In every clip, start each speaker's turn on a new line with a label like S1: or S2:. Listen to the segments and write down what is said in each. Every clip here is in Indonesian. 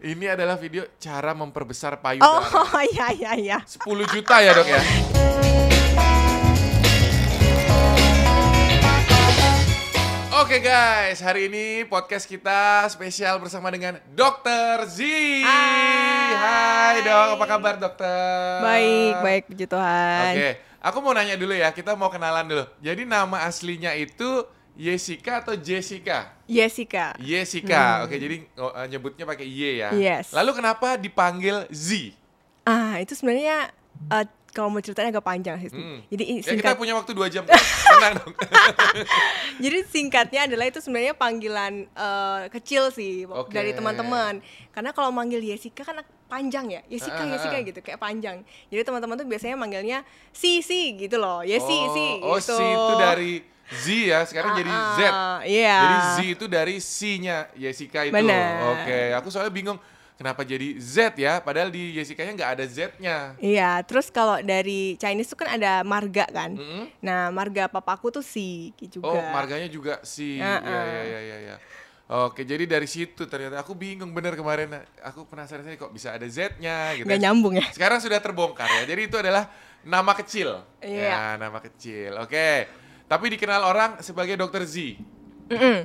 S1: Ini adalah video cara memperbesar
S2: Oh
S1: payudara.
S2: iya iya iya.
S1: 10 juta ya dok ya. Oke guys, hari ini podcast kita spesial bersama dengan Dokter Z.
S2: Hai.
S1: Hai dok, apa kabar dokter?
S2: Baik baik
S1: Eh,
S2: puji
S1: Oke,
S2: Tuhan.
S1: aku mau nanya dulu ya, kita mau kenalan dulu. Jadi nama aslinya itu Jessica atau Jessica?
S2: Iya Jessica.
S1: Jessica. Oke, jadi oh, eh, nyebutnya pakai Y ya.
S2: Hmm. Yes.
S1: Lalu kenapa dipanggil Z?
S2: Ah itu sebenarnya eh, kalau mau ceritanya agak panjang sih.
S1: Hmm.
S2: Jadi i-
S1: Ya kita
S2: singkat.
S1: punya waktu 2 jam. Kak. Tenang dong.
S2: Jadi singkatnya adalah itu sebenarnya panggilan eh, kecil sih wak-
S1: Oke.
S2: dari teman-teman. Karena kalau manggil Jessica kan panjang ya. Jessica
S1: Ah, ah,
S2: Jessica
S1: ah.
S2: gitu kayak panjang. Jadi teman-teman tuh biasanya manggilnya si si gitu loh. Ya si si
S1: Oh,
S2: gitu.
S1: si itu dari Z ya, sekarang jadi
S2: Ah,
S1: Z.
S2: ah, Iya.
S1: Jadi Z itu dari C-nya Jessica itu.
S2: Benar.
S1: Oke, aku soalnya bingung kenapa jadi Z ya, padahal di Jessica-nya nggak ada Z-nya.
S2: Iya, terus kalau dari Chinese tuh kan ada marga kan.
S1: Mm-mm.
S2: Nah, marga papaku tuh si gitu juga.
S1: Oh, marganya juga si.
S2: Ah,
S1: Ya,
S2: ah.
S1: ya, ya, ya, ya. Oke, jadi dari situ ternyata aku bingung bener kemarin. Aku penasaran saya kok bisa ada Z-nya gitu.
S2: Nggak nyambung ya.
S1: Sekarang sudah terbongkar ya. Jadi itu adalah nama kecil. Ya,
S2: Iya.
S1: nama kecil. Oke. Tapi dikenal orang sebagai Dokter Z.
S2: Mm-mm.
S1: Eh,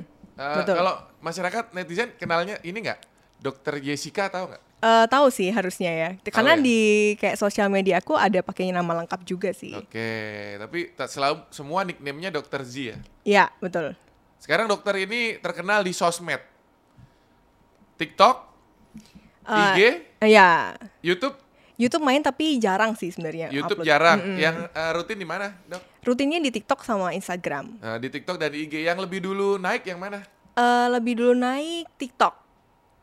S2: Betul.
S1: Kalau masyarakat netizen kenalnya ini nggak? Dokter Jessica tahu nggak?
S2: Eh, tahu sih harusnya ya. Karena
S1: ya?
S2: di kayak sosial media aku ada pakainya nama lengkap juga sih.
S1: Oke, tapi tak selalu semua nicknamenya Dokter Z ya.
S2: Iya, betul.
S1: Sekarang dokter ini terkenal di sosmed, TikTok,
S2: Eh,
S1: IG,
S2: Iya.
S1: YouTube.
S2: YouTube main tapi jarang sih sebenarnya.
S1: YouTube
S2: eh, upload.
S1: jarang.
S2: Mm-mm.
S1: Yang eh, rutin di mana, dok?
S2: rutinnya di TikTok sama Instagram.
S1: Eh, di TikTok dan di IG. Yang lebih dulu naik yang mana?
S2: Eh, lebih dulu naik TikTok.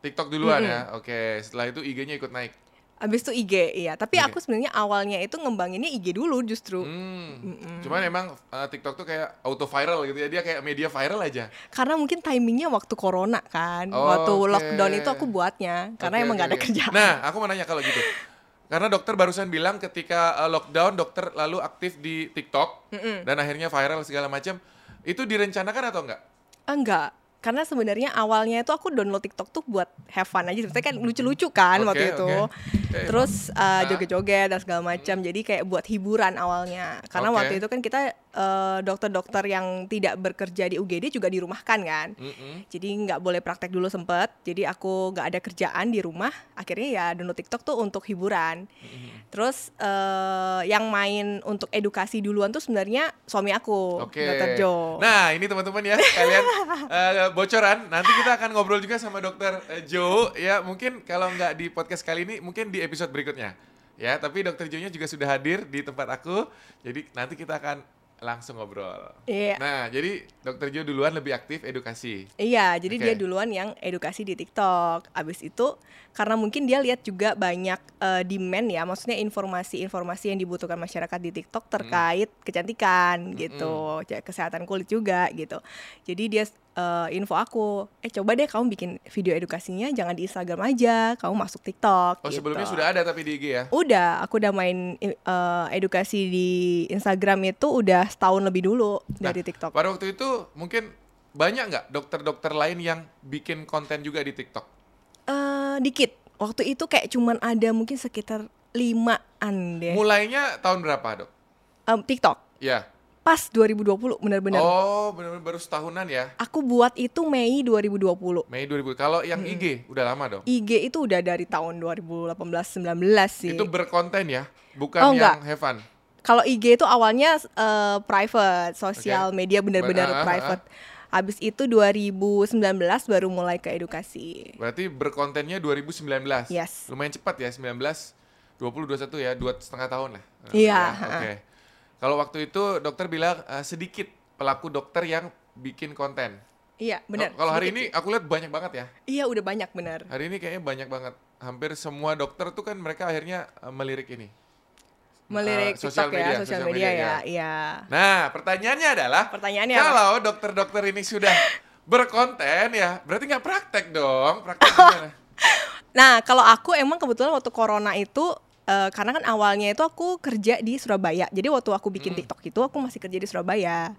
S1: TikTok duluan ya. Oke, setelah itu IG-nya ikut naik.
S2: Habis itu IG, iya. Tapi
S1: Oke.
S2: aku sebenarnya awalnya itu ngembanginnya IG dulu justru.
S1: Hmm. Cuman emang eh, TikTok tuh kayak auto viral gitu ya. Dia kayak media viral aja.
S2: karena mungkin timingnya waktu corona kan
S1: Oh,
S2: waktu
S1: oke.
S2: lockdown itu aku buatnya karena
S1: Oke,
S2: emang
S1: oke,
S2: gak ada
S1: oke.
S2: kerjaan
S1: Nah, aku mau nanya kalau gitu. Karena dokter barusan bilang ketika uh, lockdown dokter lalu aktif di TikTok dan akhirnya viral segala macam. Itu direncanakan atau enggak?
S2: enggak karena sebenarnya awalnya itu aku download TikTok tuh buat have fun aja sebenarnya kan lucu-lucu kan
S1: Oke,
S2: waktu
S1: oke. Iya,
S2: itu
S1: Oke.
S2: terus uh, joget-joget dan segala macam jadi kayak buat hiburan awalnya karena
S1: Oke.
S2: waktu itu kan kita uh, dokter-dokter yang tidak bekerja di UGD juga dirumahkan kan
S1: Mm-mm.
S2: jadi nggak boleh praktek dulu sempet jadi aku nggak ada kerjaan di rumah akhirnya ya download TikTok tuh untuk hiburan terus eh, yang main untuk edukasi duluan tuh sebenarnya suami aku
S1: Oke.
S2: dokter Jo
S1: Nah, ini teman-teman ya, kalian eh, bocoran. Nanti kita akan ngobrol juga sama dokter eh, Jo ya. Mungkin kalau nggak di podcast kali ini, mungkin di episode berikutnya. Ya, tapi dokter Jo-nya juga sudah hadir di tempat aku. Jadi nanti kita akan langsung ngobrol.
S2: Iya.
S1: Nah, jadi dokter Jo duluan lebih aktif edukasi.
S2: Iya, jadi
S1: Oke.
S2: dia duluan yang edukasi di TikTok. Abis itu, karena mungkin dia lihat juga banyak eh, demand ya, maksudnya informasi-informasi yang dibutuhkan masyarakat di TikTok terkait kecantikan gitu, ya, kesehatan kulit juga gitu. Jadi dia eh, info aku, eh coba deh kamu bikin video edukasinya jangan di Instagram aja, kamu masuk TikTok.
S1: Oh
S2: gitu.
S1: sebelumnya sudah ada tapi di IG ya?
S2: Udah, aku udah main eh, edukasi di Instagram itu udah setahun lebih dulu
S1: Nah,
S2: dari TikTok.
S1: Pada waktu itu mungkin banyak nggak dokter-dokter lain yang bikin konten juga di TikTok?
S2: eh dikit. Waktu itu kayak cuman ada mungkin sekitar limaan deh.
S1: Mulainya tahun berapa dok?
S2: Em, TikTok.
S1: Ya.
S2: Pas 2020 benar-benar.
S1: Oh benar-benar baru setahunan ya?
S2: Aku buat itu Mei 2020.
S1: Mei 2000. Kalau yang IG udah lama dong.
S2: IG itu udah dari tahun 2018-19 sih.
S1: Itu berkonten ya, bukan
S2: Oh,
S1: yang
S2: nggak.
S1: have fun.
S2: Kalau IG itu awalnya eh, private, sosial
S1: Oke.
S2: media benar-benar
S1: Ah, ah, ah.
S2: private. Habis itu 2019 baru mulai ke edukasi.
S1: Berarti berkontennya 2019.
S2: Yes.
S1: Lumayan cepat ya 19, 20, 21 ya, dua setengah tahun lah.
S2: Iya,
S1: Ya, Oke. Kalau waktu itu dokter bilang eh, sedikit pelaku dokter yang bikin konten.
S2: Iya, benar.
S1: Oh, Kalau hari
S2: Sedikit.
S1: ini aku lihat banyak banget ya.
S2: iya udah banyak benar.
S1: Hari ini kayaknya banyak banget. Hampir semua dokter tuh kan mereka akhirnya eh, melirik ini.
S2: Melirik
S1: Eh,
S2: TikTok ya, sosial media, ya. Iya.
S1: Nah, pertanyaannya adalah
S2: Pertanyaannya apa?
S1: kalau dokter-dokter ini sudah berkonten ya, berarti nggak praktek dong. Praktek gimana?
S2: Nah, kalau aku emang kebetulan waktu corona itu eh, karena kan
S1: Hmm.
S2: awalnya itu aku kerja di Surabaya. Jadi waktu aku bikin TikTok itu aku masih kerja di Surabaya.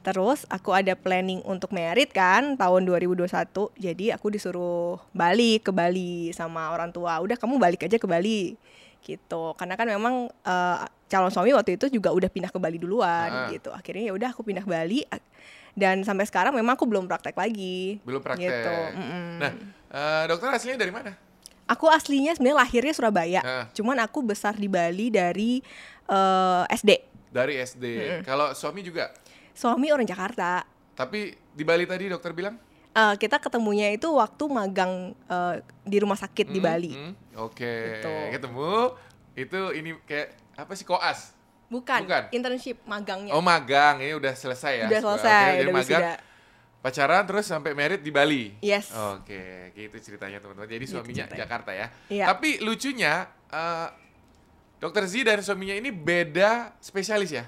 S2: Terus aku ada planning untuk merit kan tahun 2021. Jadi aku disuruh balik ke Bali sama orang tua. Udah kamu balik aja ke Bali gitu. Karena kan memang eh, calon suami waktu itu juga udah pindah ke Bali duluan
S1: Ah.
S2: gitu. Akhirnya ya udah aku pindah ke Bali ak- dan sampai sekarang memang aku belum praktek lagi.
S1: Belum praktek.
S2: Gitu. mm-mm.
S1: Nah, eh, dokter aslinya dari mana?
S2: Aku aslinya sebenarnya lahirnya Surabaya.
S1: Ah.
S2: Cuman aku besar di Bali dari eh, SD.
S1: Dari SD. Kalau suami juga.
S2: Suami orang Jakarta.
S1: Tapi di Bali tadi dokter bilang?
S2: Eh, kita ketemunya itu waktu magang eh, di rumah sakit di
S1: Hmm,
S2: Bali.
S1: hmm, Oke.
S2: Gitu.
S1: Ketemu. Itu ini kayak apa sih koas?
S2: Bukan,
S1: Bukan.
S2: internship magangnya.
S1: Oh magang, ini udah selesai ya.
S2: Iya. udah
S1: Oke,
S2: selesai,
S1: jadi
S2: udah
S1: magang,
S2: wisuda.
S1: pacaran terus sampai merit di Bali.
S2: Yes.
S1: Oke, gitu ceritanya teman-teman. Jadi
S2: Gitu
S1: suaminya
S2: ceritanya.
S1: Jakarta ya.
S2: Iya.
S1: Tapi lucunya eh Dokter Z dan suaminya ini beda spesialis ya.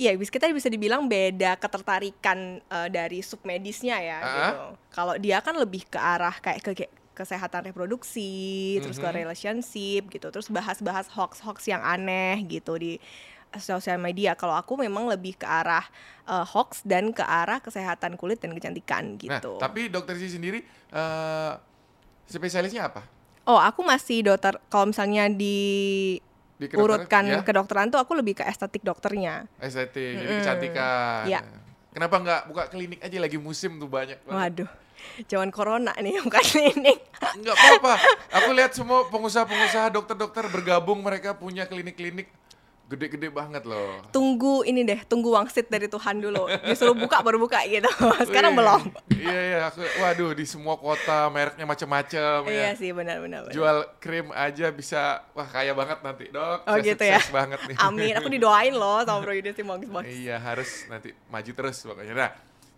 S2: Iya, bis kita bisa dibilang beda ketertarikan eh, dari submedisnya ya
S1: Ah.
S2: gitu. Kalau dia kan lebih ke arah kayak ke ke- kesehatan reproduksi, terus ke
S1: Mhm.
S2: relationship gitu, terus bahas-bahas hoax-hoax yang aneh gitu di sosial media. Kalau aku memang lebih ke arah eh, hoax dan ke arah kesehatan kulit dan
S1: Nah,
S2: kecantikan gitu.
S1: tapi Dokter Z sendiri eh spesialisnya apa?
S2: Oh, aku masih dokter. Kalau misalnya di
S1: Di kedokteran?
S2: urutkan
S1: ya,
S2: kedokteran tuh aku lebih ke estetik dokternya.
S1: estetik, jadi
S2: Mm-mm.
S1: kecantikan.
S2: Iya.
S1: Kenapa nggak buka klinik aja lagi musim tuh banyak banget.
S2: Waduh. Jangan corona nih bukan klinik.
S1: Nggak apa-apa. Aku lihat semua pengusaha-pengusaha, dokter-dokter bergabung mereka punya klinik-klinik gede-gede banget loh.
S2: Tunggu ini deh, tunggu wangsit dari Tuhan dulu. Disuruh buka baru buka gitu. Sekarang
S1: Wih.
S2: belum.
S1: Iya iya, aku, waduh di semua kota mereknya macam-macam ya.
S2: Iya sih benar-benar. benar.
S1: Jual krim aja bisa wah kaya banget nanti, Dok.
S2: Oh,
S1: Saya
S2: gitu
S1: sukses
S2: ya. Oh.
S1: banget nih.
S2: Amin, aku didoain loh sama Bro Yudi sih bagus bagus.
S1: Iya, harus nanti maju terus pokoknya. Nah,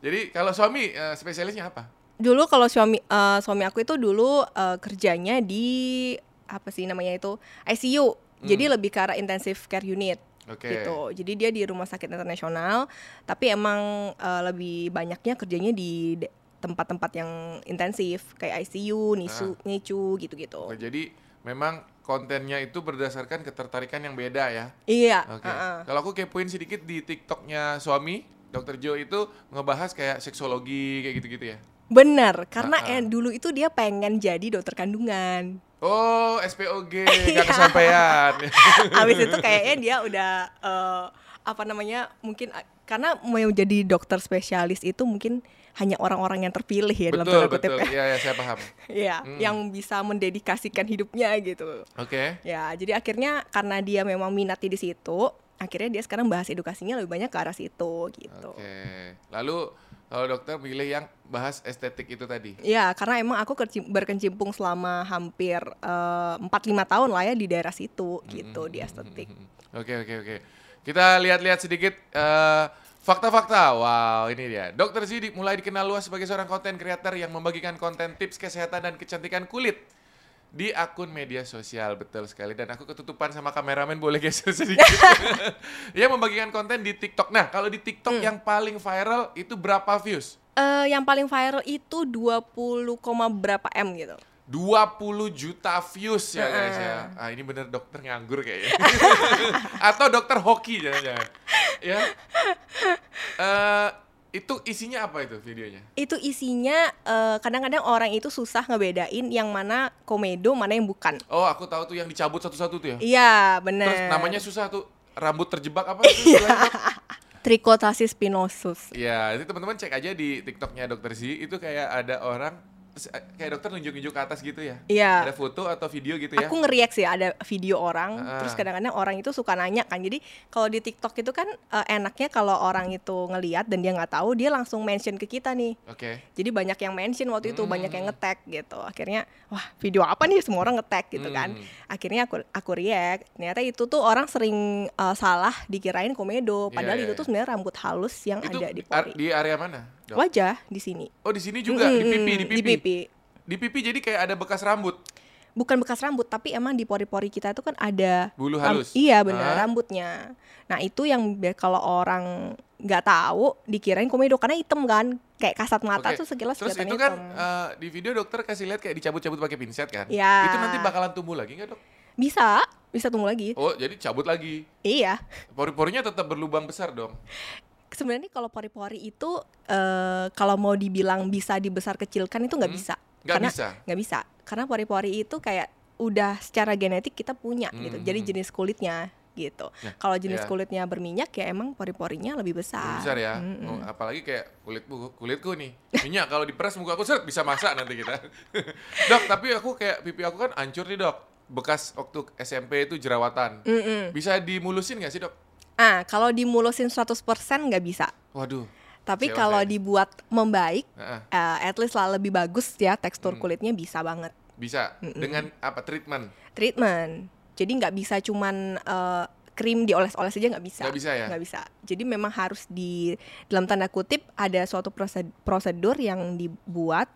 S1: jadi kalau suami eh, spesialisnya apa?
S2: Dulu kalau suami eh, suami aku itu dulu eh, kerjanya di apa sih namanya itu ICU. Jadi lebih ke arah intensive care unit.
S1: Hmm. Oke.
S2: gitu. Jadi dia di rumah sakit internasional, tapi emang eh, lebih banyaknya kerjanya di de- tempat-tempat yang intensif
S1: Ah.
S2: kayak ICU, nisu, nicu
S1: Oh,
S2: gitu-gitu.
S1: jadi memang kontennya itu berdasarkan ketertarikan yang beda ya.
S2: Iya.
S1: Oke.
S2: heeh.
S1: Kalau aku kepoin sedikit di TikToknya suami, Dokter Joe itu ngebahas kayak seksologi kayak gitu-gitu ya.
S2: Bener, karena
S1: Ah, ah.
S2: eh, dulu itu dia pengen jadi dokter kandungan.
S1: Oh, SPOG
S2: Iya.
S1: gak kesampaian.
S2: Habis itu kayaknya dia udah eh, apa namanya? Mungkin eh, karena mau jadi dokter spesialis itu mungkin hanya orang-orang yang terpilih ya dalam
S1: betul
S2: tanda kutip
S1: betul Hmm.
S2: ya.
S1: iya ya, saya paham
S2: Iya, yang bisa mendedikasikan hidupnya gitu.
S1: oke
S2: Ya, jadi akhirnya karena dia memang minatnya di situ, akhirnya dia sekarang bahas edukasinya lebih banyak ke arah situ gitu.
S1: oke lalu kalau dokter pilih yang bahas estetik itu tadi
S2: Ya, karena emang aku kerci- berkecimpung selama hampir eh, 4-5 tahun lah ya di daerah situ gitu, di estetik.
S1: Hmm, oke oke oke kita lihat-lihat sedikit eh, fakta-fakta wow ini dia dokter Zidi mulai dikenal luas sebagai seorang konten creator yang membagikan konten tips kesehatan dan kecantikan kulit di akun media sosial betul sekali dan aku ketutupan sama kameramen boleh geser sedikit ya membagikan konten di TikTok nah kalau di
S2: Hmm.
S1: TikTok yang paling viral itu berapa views
S2: Eh, yang paling viral itu 20, koma berapa M gitu.
S1: 20 juta views ya guys ya. Ah, ini bener dokter nganggur kayaknya. Atau dokter hoki jangan-jangan. Ya. Eh, itu isinya apa itu videonya?
S2: Itu isinya eh, kadang-kadang orang itu susah ngebedain yang mana komedo, mana yang bukan.
S1: Oh, aku tahu tuh yang dicabut satu-satu tuh ya.
S2: Iya, benar.
S1: Terus namanya susah tuh rambut terjebak apa itu
S2: Iya.
S1: istilahnya, Dok?
S2: trichotasis spinosus.
S1: Iya, itu teman-teman cek aja di TikToknya dokter Z itu kayak ada orang terus, eh, kayak dokter nunjuk-nunjuk ke atas gitu ya.
S2: Iya.
S1: Ada foto atau video gitu ya.
S2: aku ngeriak sih ada video orang
S1: Ah.
S2: terus kadang-kadang orang itu suka nanya kan jadi kalau di TikTok itu kan eh, enaknya kalau orang itu ngeliat dan dia nggak tahu dia langsung mention ke kita nih
S1: Oke.
S2: jadi banyak yang mention
S1: Hmm.
S2: waktu itu banyak yang ngetek gitu akhirnya wah video apa nih semua orang ngetek gitu kan
S1: Hmm.
S2: akhirnya aku aku react ternyata itu tuh orang sering eh, salah dikirain
S1: Iya,
S2: komedo padahal
S1: iya,
S2: itu
S1: iya.
S2: tuh sebenarnya rambut halus yang
S1: Itu
S2: ada di
S1: ar-
S2: pori
S1: di area mana? Dok?
S2: wajah di sini
S1: Oh, di sini juga di
S2: Mm-mm,
S1: pipi, di pipi.
S2: di pipi
S1: Di pipi jadi kayak ada bekas rambut.
S2: bukan bekas rambut tapi emang di pori-pori kita itu kan ada
S1: Bulu
S2: ram-
S1: halus. Ah.
S2: iya
S1: Hah?
S2: benar rambutnya nah itu yang biar kalau orang nggak tahu dikirain komedo karena hitam kan kayak kasat mata
S1: Oke.
S2: tuh sekilas
S1: Terus
S2: kelihatannya
S1: itu kan
S2: hitam.
S1: eh, di video dokter kasih lihat kayak dicabut-cabut pakai pinset kan?
S2: Ya.
S1: Itu nanti bakalan tumbuh lagi nggak dok?
S2: bisa bisa tunggu lagi
S1: Oh jadi cabut lagi.
S2: iya
S1: Pori-porinya tetap berlubang besar dong.
S2: sebenarnya kalau pori-pori itu eh, kalau mau dibilang bisa dibesar kecilkan itu nggak
S1: Hmm.
S2: bisa
S1: Nggak
S2: Karena-
S1: bisa.
S2: nggak bisa karena pori-pori itu kayak udah secara genetik kita punya gitu
S1: Hmm,
S2: jadi
S1: hmm.
S2: jenis kulitnya gitu
S1: Nah,
S2: kalau jenis
S1: ya.
S2: kulitnya berminyak ya emang pori-porinya lebih
S1: Lebih
S2: besar Hmm.
S1: besar ya.
S2: Ah, Mm-mm.
S1: Oh, apalagi kayak kulitku kulitku nih. Minyak kalau diperas muka aku seret bisa masak nanti kita. dok, tapi aku kayak pipi aku kan hancur nih, Dok. Bekas waktu SMP itu jerawatan.
S2: Mm-mm.
S1: Bisa dimulusin nggak sih, Dok?
S2: ah kalau dimulusin 100% nggak bisa
S1: Waduh.
S2: tapi
S1: Kecewa
S2: kalau
S1: saya.
S2: dibuat membaik
S1: Heeh,
S2: eh, at least lah lebih bagus ya tekstur
S1: Hmm.
S2: kulitnya bisa banget
S1: bisa
S2: Mm-mm.
S1: dengan apa treatment?
S2: treatment jadi nggak bisa cuman eh, krim dioles-oles aja nggak bisa
S1: Nggak bisa ya?
S2: nggak bisa jadi memang harus di dalam tanda kutip ada suatu prosed- prosedur yang dibuat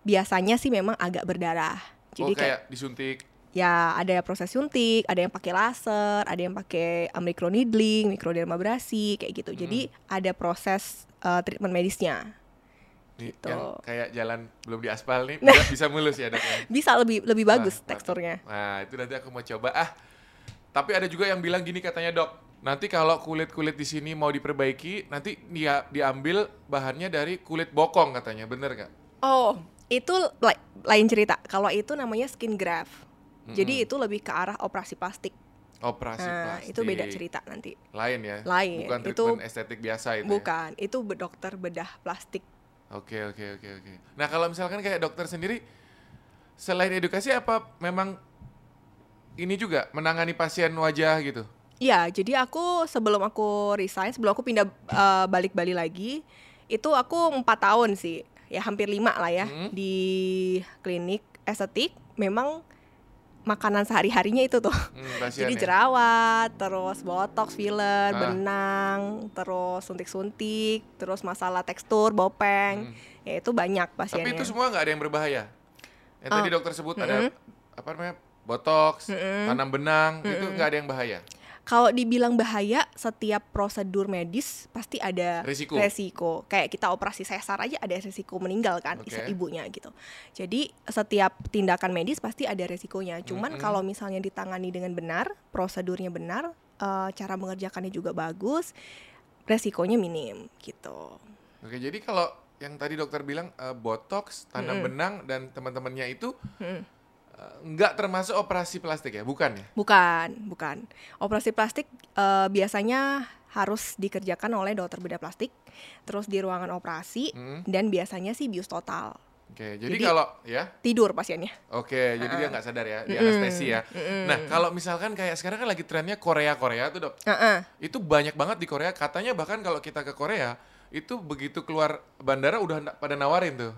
S2: biasanya sih memang agak berdarah jadi
S1: oh, kayak disuntik.
S2: ya ada proses suntik, ada yang pakai laser, ada yang pakai eh, microneedling, mikrodermabrasi kayak gitu. Jadi
S1: Hmm.
S2: ada proses eh, treatment medisnya.
S1: Nih,
S2: Gitu.
S1: yang kayak jalan belum diaspal nih
S2: Nah. Ya.
S1: bisa- bisa mulus ya, Dok. ya?
S2: Bisa lebih lebih bagus
S1: Nah,
S2: teksturnya.
S1: Nah, itu nanti aku mau coba ah. Tapi ada juga yang bilang gini katanya, "Dok, nanti kalau kulit-kulit di sini mau diperbaiki, nanti dia diambil bahannya dari kulit bokong katanya. Bener nggak?
S2: Oh, itu la- lain cerita. Kalau itu namanya skin graft. Jadi itu lebih ke arah operasi plastik.
S1: Hmm. Operasi
S2: Nah,
S1: plastik.
S2: itu beda cerita nanti.
S1: Lain ya.
S2: Lain.
S1: Bukan
S2: Itu-
S1: treatment estetik biasa itu. ya?
S2: Bukan, itu be- dokter bedah plastik.
S1: Oke, oke, oke, oke. Nah, kalau misalkan kayak dokter sendiri selain edukasi apa memang ini juga menangani pasien wajah gitu?
S2: Iya, jadi aku sebelum aku resign, sebelum aku pindah eh, balik Bali lagi, itu aku empat tahun sih, ya hampir lima lah ya
S1: Hmm.
S2: di klinik estetik. Memang makanan sehari harinya itu tuh.
S1: Hmm, kasihan
S2: Jadi
S1: ya.
S2: jerawat, terus botox, filler,
S1: Ah.
S2: benang, terus suntik-suntik, terus masalah tekstur, bopeng,
S1: Hmm.
S2: ya itu banyak
S1: Tapi
S2: pasiennya.
S1: itu semua nggak ada yang berbahaya. Yang tadi dokter sebut ada
S2: ya. Oh. Mm-mm.
S1: apa namanya botox,
S2: Mm-mm.
S1: tanam benang, itu nggak ada yang bahaya.
S2: Kalau dibilang bahaya, setiap prosedur medis pasti ada
S1: Risiko.
S2: resiko. Kayak kita operasi sesar aja ada resiko meninggal kan
S1: Oke.
S2: ibunya gitu. Jadi setiap tindakan medis pasti ada resikonya. Cuman
S1: Mm-mm.
S2: kalau misalnya ditangani dengan benar, prosedurnya benar, eh, cara mengerjakannya juga bagus, resikonya minim gitu.
S1: Oke, jadi kalau yang tadi dokter bilang eh, botox, tanam
S2: Mm-mm.
S1: benang dan teman-temannya itu
S2: Mm-mm.
S1: eh, nggak termasuk operasi plastik ya, bukan ya?
S2: Bukan, bukan. Operasi plastik eh, biasanya harus dikerjakan oleh dokter bedah plastik, terus di ruangan operasi,
S1: Mm.
S2: dan biasanya sih bius total.
S1: Oke, jadi,
S2: Jadi-
S1: kalau ya,
S2: tidur pasiennya.
S1: oke, jadi dia nggak sadar ya, di
S2: Mm-mm.
S1: anestesi ya. Nah, kalau misalkan kayak sekarang kan lagi trennya Korea-Korea tuh dok,
S2: Heeh.
S1: itu banyak banget di Korea. Katanya bahkan kalau kita ke Korea itu begitu keluar bandara udah na- pada nawarin tuh,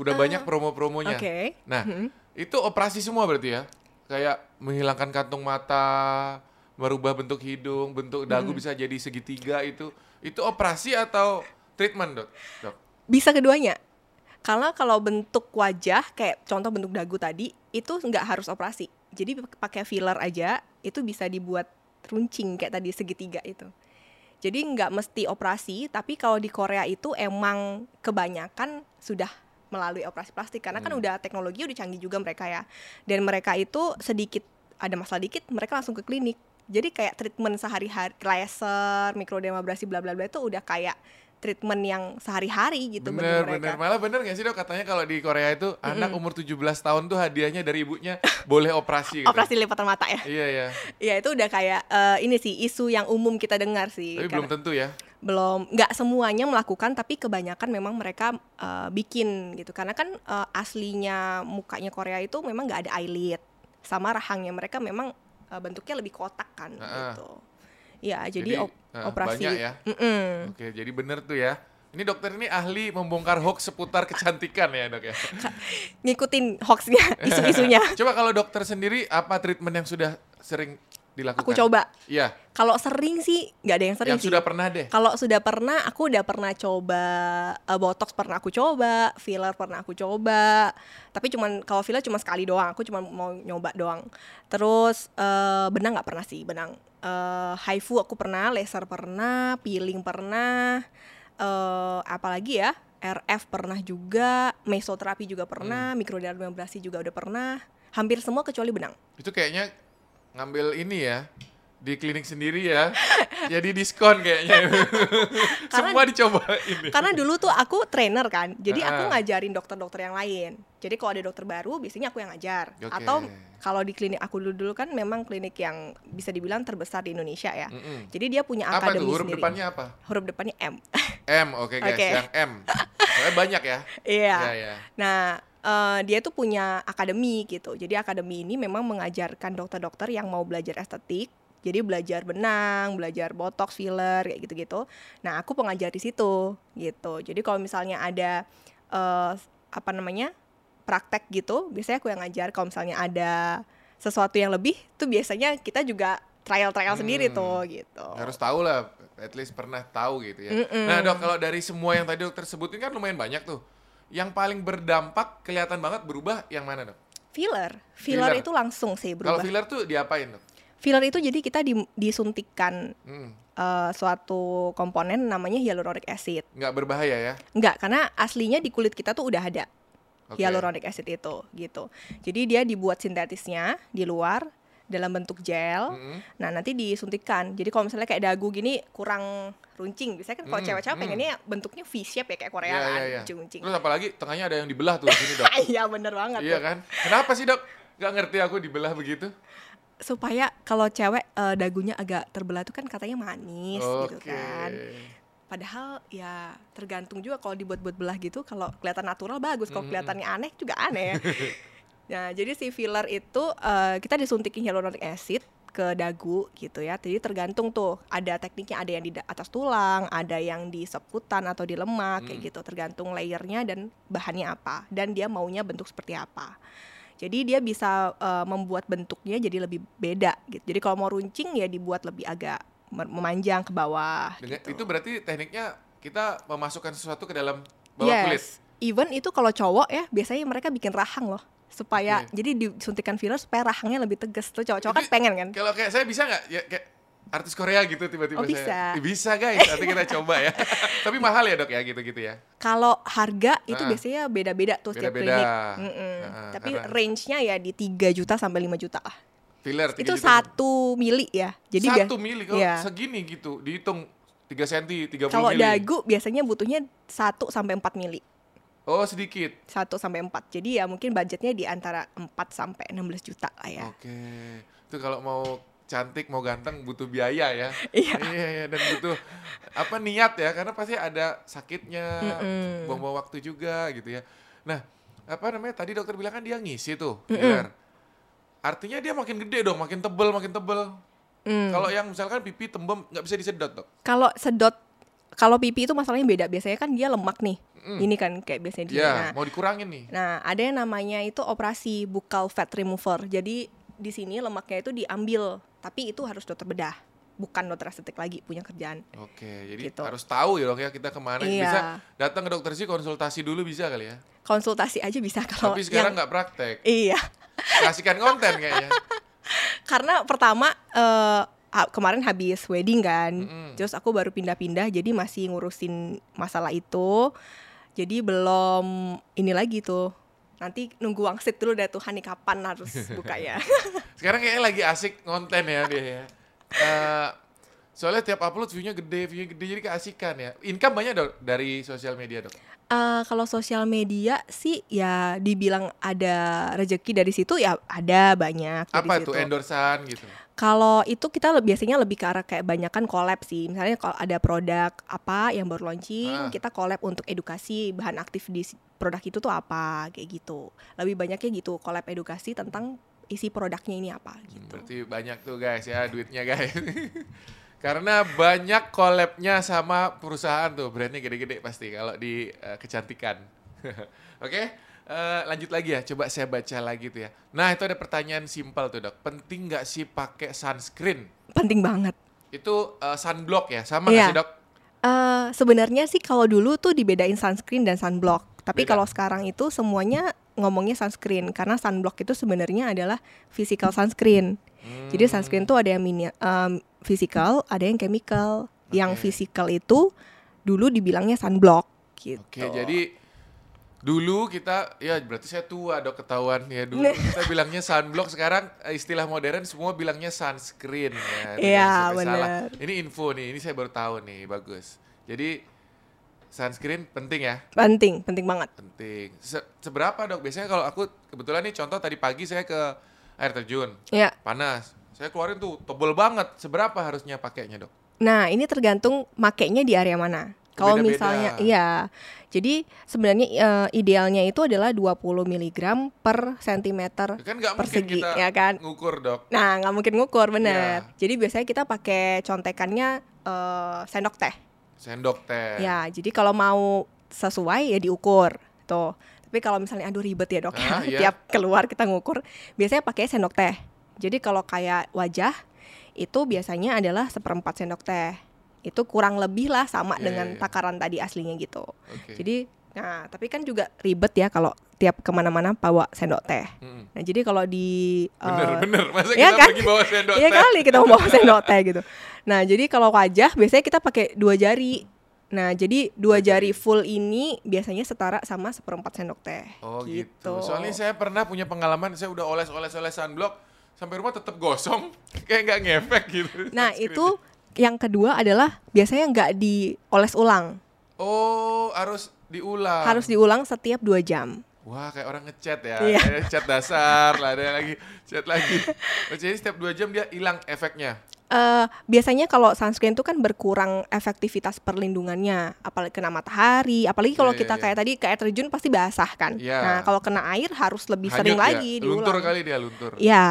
S1: udah banyak promo-promonya.
S2: Ah. Oke.
S1: Nah,
S2: Mhm.
S1: itu operasi semua berarti ya? Kayak menghilangkan kantung mata, merubah bentuk hidung, bentuk
S2: Mm-hmm.
S1: dagu bisa jadi segitiga itu. Itu operasi atau treatment, Dok? Dok.
S2: Bisa keduanya. Karena kalau bentuk wajah kayak contoh bentuk dagu tadi itu nggak harus operasi. Jadi pakai filler aja itu bisa dibuat runcing kayak tadi segitiga itu. Jadi nggak mesti operasi, tapi kalau di Korea itu emang kebanyakan sudah melalui operasi plastik karena kan udah teknologi udah canggih juga mereka ya. Dan mereka itu sedikit ada masalah dikit mereka langsung ke klinik. Jadi kayak treatment sehari-hari laser, mikrodermabrasi bla bla bla itu udah kayak treatment yang sehari-hari gitu bagi
S1: bener,
S2: mereka. Mm-hmm.
S1: bener. Malah bener gak sih, Dok? Katanya kalau di Korea itu anak umur 17 tahun tuh hadiahnya dari ibunya boleh operasi gitu.
S2: Operasi lipatan mata ya.
S1: Iya, iya.
S2: Ya itu udah kayak eh, ini sih isu yang umum kita dengar sih.
S1: Tapi belum
S2: Iya, Karena-
S1: tentu ya.
S2: belum nggak semuanya melakukan tapi kebanyakan memang mereka eh, bikin gitu karena kan eh, aslinya mukanya Korea itu memang nggak ada eyelid sama rahangnya mereka memang eh, bentuknya lebih kotak kan
S1: Ah, ah.
S2: gitu ya jadi, op-
S1: eh,
S2: operasi
S1: banyak ya.
S2: Mm-mm.
S1: Oke, jadi bener tuh ya. Ini dokter ini ahli membongkar hoax seputar kecantikan ya, Dok ya.
S2: ngikutin hoaxnya isu-isunya
S1: Coba kalau dokter sendiri apa treatment yang sudah sering dilakukan?
S2: aku coba
S1: Iya,
S2: kalau sering sih nggak ada yang sering
S1: yang
S2: sih
S1: sudah pernah deh.
S2: Kalau sudah pernah, aku udah pernah coba eh, botox pernah aku coba, filler pernah aku coba. Tapi cuman kalau filler cuma sekali doang, aku cuma mau nyoba doang. Terus eh, benang nggak pernah sih, benang. Eh, Haifu aku pernah, laser pernah, peeling pernah. Eh apalagi ya, RF pernah juga, mesoterapi juga pernah, mikrodermabrasi juga udah pernah. Hampir semua kecuali benang.
S1: Itu kayaknya ngambil ini ya di klinik sendiri ya. Jadi diskon kayaknya. Semua dicoba ini.
S2: Karena dulu tuh aku trainer kan, jadi aku
S1: Ah.
S2: ngajarin dokter-dokter yang lain. Jadi kalau ada dokter baru, biasanya aku yang ngajar.
S1: Oke.
S2: Atau kalau di klinik aku dulu dulu kan memang klinik yang bisa dibilang terbesar di Indonesia ya.
S1: Mm-mm.
S2: Jadi dia punya
S1: Apa tuh
S2: akademi
S1: huruf
S2: sendiri.
S1: depannya apa?
S2: Huruf depannya M.
S1: M, oke guys,
S2: Oke.
S1: yang M. Soalnya banyak ya.
S2: Iya.
S1: Ya, ya.
S2: Nah, eh, dia tuh punya akademi gitu. Jadi akademi ini memang mengajarkan dokter-dokter yang mau belajar estetik. Jadi belajar benang, belajar botox, filler kayak gitu-gitu. Nah, aku pengajar di situ gitu. Jadi kalau misalnya ada eh, apa namanya? praktek gitu, biasanya aku yang ngajar. Kalau misalnya ada sesuatu yang lebih, tuh biasanya kita juga trial-trial sendiri
S1: Hmm.
S2: tuh gitu.
S1: Harus tahu lah, at least pernah tahu gitu ya.
S2: Mm-mm.
S1: Nah dok, kalau dari semua yang tadi dokter sebutin kan lumayan banyak tuh. Yang paling berdampak kelihatan banget berubah yang mana dok?
S2: Filler.
S1: Filler.
S2: Filler, itu langsung sih
S1: Kalau
S2: berubah. Filler.
S1: filler tuh diapain dok?
S2: itu jadi kita di- disuntikan
S1: Hmm,
S2: eh, suatu komponen namanya hyaluronic acid.
S1: Nggak berbahaya ya?
S2: Enggak, karena aslinya di kulit kita tuh udah ada
S1: Oke.
S2: hyaluronic acid itu gitu. Jadi dia dibuat sintetisnya di luar dalam bentuk gel.
S1: Mm-mm.
S2: Nah, nanti disuntikan. Jadi kalau misalnya kayak dagu gini kurang runcing, biasanya kan kalau
S1: Hmm,
S2: cewek-cewek
S1: hmm.
S2: pengennya bentuknya V shape ya kayak Korea
S1: Iya,
S2: kan,
S1: iya, iya.
S2: runcing-runcing.
S1: Terus apalagi tengahnya ada yang dibelah tuh sini dok.
S2: Iya, bener banget.
S1: iya
S2: tuh.
S1: kan? Kenapa sih dok? Nggak ngerti aku dibelah begitu?
S2: Supaya kalau cewek eh, dagunya agak terbelah tuh kan katanya manis gitu kan. Padahal ya tergantung juga kalau dibuat-buat belah gitu kalau kelihatan natural bagus, kalau
S1: Mhm.
S2: kelihatannya aneh juga aneh. ya. nah, jadi si filler itu eh, kita disuntikin hyaluronic acid ke dagu gitu ya. Jadi tergantung tuh ada tekniknya, ada yang di da- atas tulang, ada yang di seputan atau di lemak kayak
S1: Hmm.
S2: gitu, tergantung layernya dan bahannya apa dan dia maunya bentuk seperti apa. Jadi dia bisa eh, membuat bentuknya jadi lebih beda gitu. Jadi kalau mau runcing ya dibuat lebih agak mer- memanjang ke bawah
S1: Dengan-
S2: gitu
S1: Itu berarti tekniknya kita memasukkan sesuatu ke dalam bawah kulit.
S2: even itu kalau cowok ya biasanya mereka bikin rahang loh supaya
S1: Oke.
S2: jadi disuntikan filler supaya rahangnya lebih tegas tuh cowok-cowok kan
S1: Iya. Jadi-
S2: pengen kan
S1: Kalau kayak saya bisa nggak? Ya kayak artis Korea gitu tiba-tiba
S2: Oh,
S1: saya.
S2: bisa.
S1: Eh, bisa guys, nanti kita coba ya. Tapi mahal ya dok ya gitu-gitu ya.
S2: kalau harga itu
S1: Ah.
S2: biasanya beda-beda tuh setiap
S1: Beda-beda.
S2: klinik Mm-mm.
S1: Ah,
S2: tapi
S1: karena-
S2: range-nya ya di 3 juta sampai 5 juta lah
S1: Filler. tiga
S2: itu
S1: juta.
S2: satu mili ya jadi bia-
S1: gitu. satu mili kalau
S2: Iya.
S1: segini gitu dihitung 3 senti 30
S2: kalau
S1: mili.
S2: dagu biasanya butuhnya 1 sampai 4 mili
S1: Oh sedikit.
S2: 1 sampai 4 jadi ya mungkin budgetnya di antara 4 sampai 16 juta lah ya
S1: Oke. Itu kalau mau cantik mau ganteng butuh biaya ya.
S2: Iya.
S1: iya iya, dan butuh apa niat ya karena pasti ada sakitnya,
S2: Mm-mm.
S1: buang-buang waktu juga gitu ya. Nah, apa namanya tadi dokter bilang kan dia ngisi tuh filler. Artinya dia makin gede dong, makin tebel, makin tebel.
S2: Mm.
S1: Kalau yang misalkan pipi tembem nggak bisa disedot dok.
S2: kalau sedot kalau pipi itu masalahnya beda biasanya kan dia lemak nih ini kan kayak biasanya dia
S1: Iya,
S2: nah,
S1: mau dikurangin nih.
S2: nah, ada yang namanya itu operasi bucal fat remover jadi di sini lemaknya itu diambil tapi itu harus dokter bedah bukan dokter estetik lagi punya kerjaan
S1: Oke, jadi
S2: Gitu.
S1: harus tahu ya dok ya kita kemana.
S2: Iya.
S1: Bisa datang ke dokter sih konsultasi dulu bisa kali ya.
S2: konsultasi aja bisa kalau
S1: Tapi sekarang
S2: yang-
S1: nggak praktek.
S2: iya
S1: Kasihkan konten kayaknya.
S2: karena pertama eh, ha- kemarin habis wedding kan
S1: Mm-mm.
S2: terus aku baru pindah-pindah jadi masih ngurusin masalah itu jadi belum ini lagi tuh nanti nunggu wangsit dulu dah Tuhan nih kapan harus buka ya
S1: Sekarang kayaknya lagi asik konten ya dia ya. Eh, soalnya tiap upload view-nya gede, view-nya gede jadi keasikan ya. Income banyak dok dari sosial media dok.
S2: Eh, kalau sosial media sih ya dibilang ada rezeki dari situ ya ada banyak dari
S1: Apa tuh
S2: situ.
S1: endorsean gitu?
S2: Kalau itu kita le- biasanya lebih ke arah kayak banyakan collab sih. Misalnya kalau ada produk apa yang baru
S1: Ah.
S2: launching, kita collab untuk edukasi bahan aktif di si- produk itu tuh apa kayak gitu. Lebih banyaknya gitu collab edukasi tentang isi produknya ini apa
S1: Hmm,
S2: gitu.
S1: Berarti banyak tuh guys ya duitnya guys. Karena banyak collab-nya sama perusahaan tuh brandnya gede-gede pasti kalau di eh, kecantikan. Oke, eh, lanjut lagi ya. Coba saya baca lagi tuh ya. Nah itu ada pertanyaan simpel tuh dok. Penting nggak sih pakai sunscreen?
S2: Penting banget.
S1: Itu eh, sunblock ya sama nggak
S2: Iya.
S1: sih dok?
S2: Eh sebenarnya sih kalau dulu tuh dibedain sunscreen dan sunblock. Tapi
S1: Beda.
S2: kalau sekarang itu semuanya ngomongnya sunscreen karena sunblock itu sebenarnya adalah physical sunscreen. Jadi
S1: Hmm.
S2: sunscreen tuh ada yang mini, em, physical, ada yang chemical. Yang
S1: Oke.
S2: physical itu dulu dibilangnya sunblock gitu.
S1: Oke, jadi Dulu kita, ya berarti saya tua dok ketahuan ya dulu kita bilangnya sunblock sekarang eh, istilah modern semua bilangnya sunscreen ya. Jangan
S2: Iya,
S1: sampai salah.
S2: bener.
S1: Ini info nih, ini saya baru tahu nih bagus. Jadi sunscreen penting ya,
S2: Penting, penting banget.
S1: penting. Se- seberapa dok? Biasanya kalau aku kebetulan nih contoh tadi pagi saya ke air terjun
S2: Ya.
S1: panas, saya keluarin tuh tebel banget. Seberapa harusnya pakainya dok?
S2: Nah, ini tergantung makainya di area mana. Kalau
S1: Beda-beda.
S2: misalnya iya. Jadi sebenarnya eh, idealnya itu adalah 20 mg per sentimeter
S1: Kan nggak mungkin
S2: persegi,
S1: kita
S2: ya kan?
S1: ngukur dok.
S2: Nah, nggak mungkin
S1: Iya.
S2: ngukur, bener. Jadi biasanya kita pakai contekannya eh, sendok teh.
S1: Sendok teh.
S2: Ya, jadi kalau mau sesuai ya diukur tuh. Tapi kalau misalnya aduh ribet ya dok ya,
S1: Ah, iya.
S2: tiap keluar kita ngukur, biasanya pakai sendok teh. Jadi kalau kayak wajah itu biasanya adalah seperempat sendok teh. Itu kurang lebih lah sama
S1: Iya,
S2: dengan
S1: iya, iya.
S2: takaran tadi aslinya gitu.
S1: Oke.
S2: Jadi, nah tapi kan juga ribet ya kalau tiap kemana-mana bawa sendok teh.
S1: Mm-mm.
S2: Nah jadi kalau di
S1: Bener,
S2: eh,
S1: bener. Masa
S2: iya
S1: kita
S2: kan?
S1: pergi bawa sendok
S2: Iya
S1: teh?
S2: kali kita mau bawa sendok teh gitu. Nah jadi kalau wajah biasanya kita pakai dua jari. Nah jadi dua
S1: Dua jari.
S2: jari full ini biasanya setara sama seperempat sendok teh.
S1: Oh gitu. Soalnya saya pernah punya pengalaman, saya udah oles-oles-oles sunblock, sampai rumah tetap gosong, kayak nggak ngefek gitu.
S2: Nah
S1: sunscreen.
S2: itu yang kedua adalah biasanya nggak dioles ulang,
S1: Oh harus diulang.
S2: harus diulang setiap dua jam.
S1: Wah kayak orang ngechat ya,
S2: Iya.
S1: Ada chat dasar, lah ada lagi chat lagi. Oh, Jadi setiap dua jam dia hilang efeknya.
S2: Eh biasanya kalau sunscreen itu kan berkurang efektivitas perlindungannya, apalagi kena matahari, apalagi kalau
S1: Iya, iya,
S2: kita
S1: iya.
S2: kayak tadi ke air terjun pasti basah kan.
S1: Iya.
S2: Nah kalau kena air harus lebih
S1: Hanyut
S2: sering
S1: dia.
S2: lagi diulang.
S1: Luntur kali dia luntur.
S2: Ya.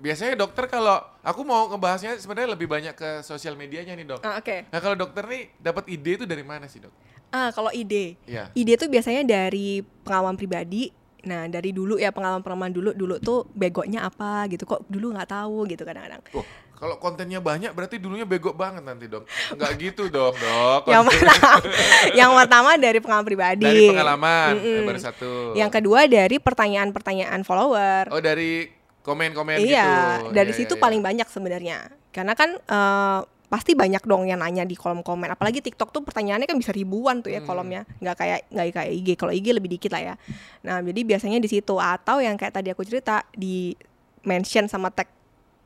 S1: Biasanya dokter kalau aku mau ngebahasnya sebenarnya lebih banyak ke sosial medianya nih dok.
S2: Ah, Oke.
S1: Nah kalau dokter nih dapat ide itu dari mana sih dok?
S2: Ah, kalau ide.
S1: Iya.
S2: Ide tuh biasanya dari pengalaman pribadi. Nah, dari dulu ya pengalaman-pengalaman dulu dulu tuh begonya apa gitu kok dulu nggak tahu gitu kadang-kadang.
S1: Wah, kalau kontennya banyak berarti dulunya bego banget nanti dok. Nggak gitu dong dok.
S2: Yang pertama, yang pertama dari pengalaman pribadi.
S1: dari pengalaman eh,
S2: Mm-mm.
S1: baru satu.
S2: Yang kedua dari pertanyaan-pertanyaan follower.
S1: oh dari komen-komen gitu.
S2: iya, dari
S1: Iya,
S2: situ
S1: iya,
S2: paling
S1: iya.
S2: banyak sebenarnya. Karena kan eh, pasti banyak dong yang nanya di kolom komen. Apalagi TikTok tuh pertanyaannya kan bisa ribuan tuh ya
S1: Hmm.
S2: kolomnya. Nggak kayak nggak kayak IG. Kalau IG lebih dikit lah ya. Nah, jadi biasanya di situ atau yang kayak tadi aku cerita di mention sama tag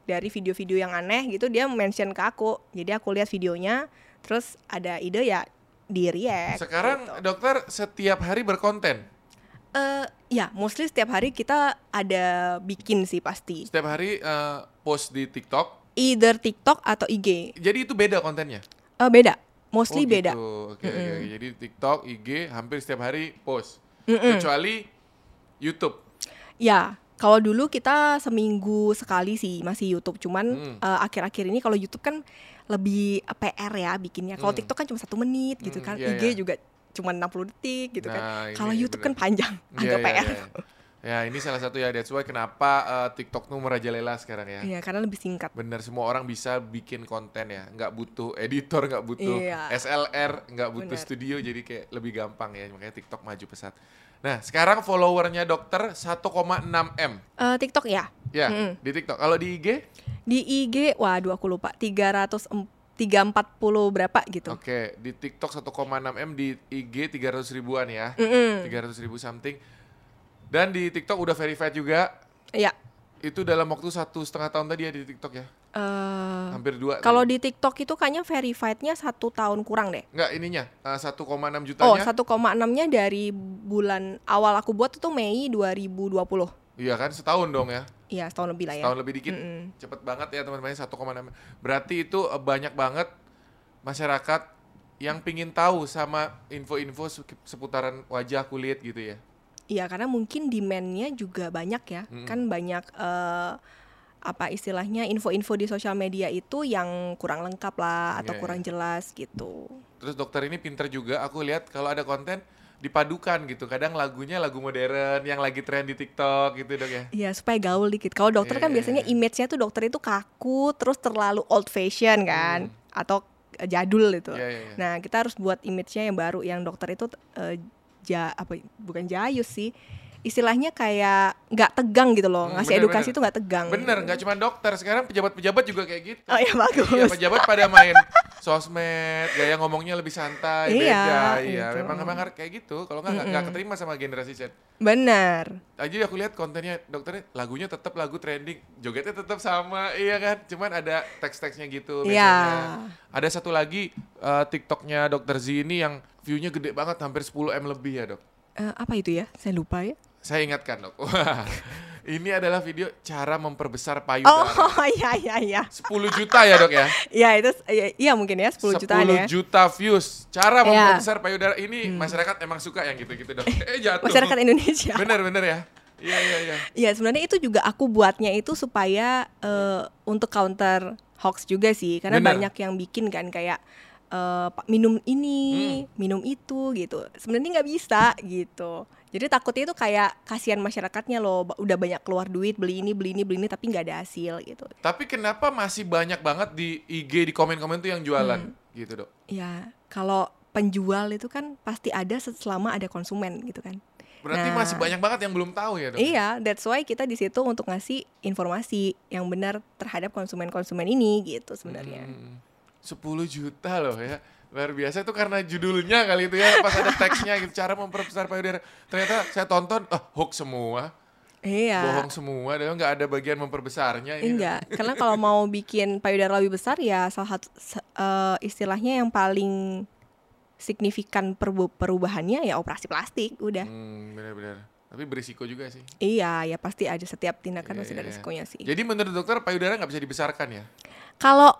S2: dari video-video yang aneh gitu dia mention ke aku. Jadi aku lihat videonya, terus ada ide ya di react.
S1: Sekarang
S2: gitu.
S1: dokter setiap hari berkonten.
S2: Eh, ya mostly setiap hari kita ada bikin sih pasti.
S1: Setiap hari eh, post di TikTok.
S2: Either TikTok atau IG.
S1: Jadi itu beda kontennya.
S2: Eh, beda,
S1: Oh,
S2: mostly beda.
S1: gitu. Oke, oke,
S2: Mm-mm.
S1: oke. Jadi TikTok, IG hampir setiap hari post.
S2: Mm-mm.
S1: Kecuali YouTube.
S2: Ya, kalau dulu kita seminggu sekali sih masih YouTube,
S1: Hmm.
S2: cuman eh, akhir-akhir ini kalau YouTube kan lebih eh, PR ya bikinnya. Kalau
S1: Hmm.
S2: TikTok kan cuma satu menit gitu
S1: Hmm,
S2: kan,
S1: iya,
S2: IG
S1: iya.
S2: juga cuma 60 detik gitu kan.
S1: Nah, ini
S2: Kalau YouTube
S1: bener.
S2: kan panjang,
S1: Iya,
S2: agak
S1: iya,
S2: PR.
S1: iya. Ya, ini salah satu ya that's why kenapa eh, TikTok tuh merajalela sekarang ya.
S2: Iya, karena lebih singkat.
S1: Bener, semua orang bisa bikin konten ya. Nggak butuh editor, nggak butuh
S2: Iya.
S1: SLR, nggak butuh
S2: Bener.
S1: studio. Jadi kayak lebih gampang ya. Makanya TikTok maju pesat. Nah, sekarang followernya dokter 1,6M.
S2: Eh, TikTok ya.
S1: Ya,
S2: Mm-mm.
S1: di TikTok. Kalau di IG?
S2: Di IG, waduh aku lupa, 300 em- 340 berapa gitu.
S1: Oke, di TikTok 1,6M, di IG 300 ribuan ya.
S2: Mm-mm.
S1: 300 ribu something. Dan di TikTok udah verified juga.
S2: Iya.
S1: Itu dalam waktu satu setengah tahun tadi ya di TikTok ya.
S2: Eh,
S1: Hampir dua.
S2: kalau
S1: tadi.
S2: di TikTok itu kayaknya verified-nya satu tahun kurang deh.
S1: Nggak, ininya. eh, 1,6 jutanya.
S2: Oh, 1,6-nya dari bulan awal aku buat itu Mei 2020.
S1: Iya kan, setahun dong ya.
S2: Iya, setahun lebih lah ya.
S1: Setahun lebih dikit.
S2: Mm-mm.
S1: Cepet banget ya teman-teman 1,6. Berarti itu eh, banyak banget masyarakat yang pingin tahu sama info-info se- seputaran wajah kulit gitu ya.
S2: Iya, karena mungkin demand-nya juga banyak ya.
S1: Mm-mm.
S2: Kan banyak eh, apa istilahnya info-info di sosial media itu yang kurang lengkap lah atau
S1: Iya,
S2: kurang jelas gitu.
S1: Terus dokter ini pinter juga. Aku lihat kalau ada konten dipadukan gitu. Kadang lagunya lagu modern yang lagi tren di TikTok gitu dok ya.
S2: Iya, supaya gaul dikit. Kalau dokter
S1: Iya,
S2: kan
S1: iya,
S2: biasanya
S1: iya.
S2: image-nya tuh dokter itu kaku, terus terlalu old fashion
S1: Mm.
S2: kan atau eh, jadul itu.
S1: Iya iya. iya.
S2: Nah, kita harus buat image-nya yang baru yang dokter itu eh, ja apa bukan ya, jayus sih. istilahnya kayak nggak tegang gitu loh
S1: Hmm,
S2: ngasih
S1: bener,
S2: edukasi
S1: bener.
S2: itu nggak tegang
S1: Bener, nggak cuma dokter. Sekarang pejabat-pejabat juga kayak gitu.
S2: Nah, oh ya bagus
S1: Iya, pejabat pada main sosmed, gaya ngomongnya lebih santai,
S2: Iya,
S1: beda. Iya,
S2: gitu.
S1: memang memang harus kayak gitu. Kalau nggak nggak nggak keterima sama generasi Z.
S2: bener
S1: Ah, Jadi aku lihat kontennya dokternya lagunya tetap lagu trending, jogetnya tetap sama, iya kan? Cuman ada teks-teksnya gitu
S2: Iya.
S1: biasanya. Ada satu lagi eh, TikToknya dokter Z ini yang view-nya gede banget, hampir 10 m lebih ya dok.
S2: Eh, apa itu ya saya lupa ya
S1: Saya ingatkan dok. Wah, ini adalah video cara memperbesar
S2: oh
S1: payudara.
S2: iya iya iya
S1: 10 juta ya dok ya.
S2: ya itu ya, iya mungkin ya 10 jutaan ya
S1: juta views. Cara
S2: Iya. Hmm.
S1: memperbesar payudara ini masyarakat emang suka yang gitu-gitu dok. Eh jatuh.
S2: masyarakat ya? Indonesia
S1: Bener bener ya. Iya iya iya.
S2: Iya sebenarnya itu juga aku buatnya itu supaya eh, untuk counter hoax juga sih karena
S1: Bener.
S2: banyak yang bikin kan kayak eh, Pak, minum ini minum itu gitu sebenarnya nggak bisa gitu jadi takutnya itu kayak kasihan masyarakatnya loh ba- udah banyak keluar duit beli ini beli ini beli ini tapi nggak ada hasil gitu
S1: Tapi kenapa masih banyak banget di IG di komen-komen tuh yang jualan gitu dok?
S2: ya kalau penjual itu kan pasti ada selama ada konsumen gitu kan
S1: Berarti
S2: Nah.
S1: masih banyak banget yang belum tahu ya dok?
S2: Iya, that's why kita di situ untuk ngasih informasi yang benar terhadap konsumen-konsumen ini gitu sebenarnya.
S1: Hmm, 10 juta loh ya. Luar biasa itu karena judulnya kali itu ya pas ada teksnya gitu cara memperbesar payudara. Ternyata saya tonton ah hoax semua,
S2: Iya.
S1: bohong gitu. semua, dan nggak ada bagian memperbesarnya. ini.
S2: Enggak, karena kalau mau bikin payudara lebih besar ya salah satu se- eh, istilahnya yang paling signifikan perbu- perubahannya ya operasi plastik udah.
S1: Hmm, benar-benar. Tapi berisiko juga sih.
S2: Iya, ya pasti ada setiap tindakan
S1: Iya,
S2: pasti ada
S1: iya, iya.
S2: risikonya sih.
S1: Jadi menurut dokter payudara nggak bisa dibesarkan ya?
S2: Kalau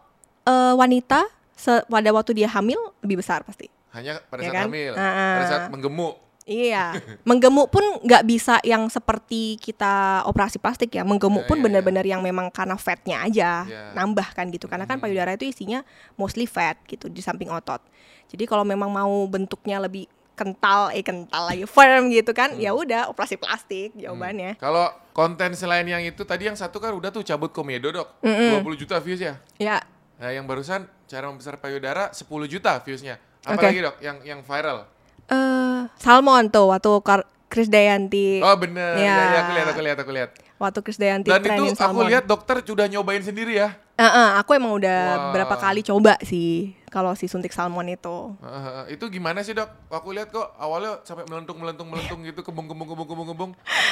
S2: eh, wanita se- pada waktu dia hamil lebih besar pasti.
S1: Hanya pada
S2: Ya
S1: saat
S2: kan?
S1: hamil,
S2: Ah,
S1: pada
S2: ah.
S1: saat menggemuk.
S2: Iya, menggemuk pun nggak bisa yang seperti kita operasi plastik ya. Menggemuk
S1: Iya,
S2: pun
S1: iya, iya.
S2: benar-benar yang memang karena fatnya aja
S1: Iya.
S2: nambah kan gitu. Karena
S1: Mhm.
S2: kan payudara itu isinya mostly fat gitu di samping otot. Jadi kalau memang mau bentuknya lebih kental, eh kental lagi firm gitu kan,
S1: Hmm.
S2: ya udah operasi plastik jawabannya.
S1: Kalau konten selain yang itu tadi yang satu kan udah tuh cabut komedo dok, 20 juta views ya.
S2: Ya,
S1: Nah, yang barusan cara membesar payudara 10 juta viewsnya.
S2: Oke.
S1: Apalagi dok yang yang viral.
S2: eh Salmon tuh waktu Kar- Krisdayanti,
S1: Oh bener, ya,
S2: Iya.
S1: ya, aku lihat, aku lihat, aku lihat.
S2: waktu Krisdayanti
S1: Dan itu
S2: trenin
S1: aku
S2: salmon.
S1: lihat dokter sudah nyobain sendiri ya.
S2: Eh, eh, aku emang udah
S1: Wah.
S2: berapa kali coba sih kalau si suntik salmon itu.
S1: Eh, itu gimana sih dok? Aku lihat kok awalnya sampai melentung melentung melentung gitu kembung kembung kembung kembung kembung.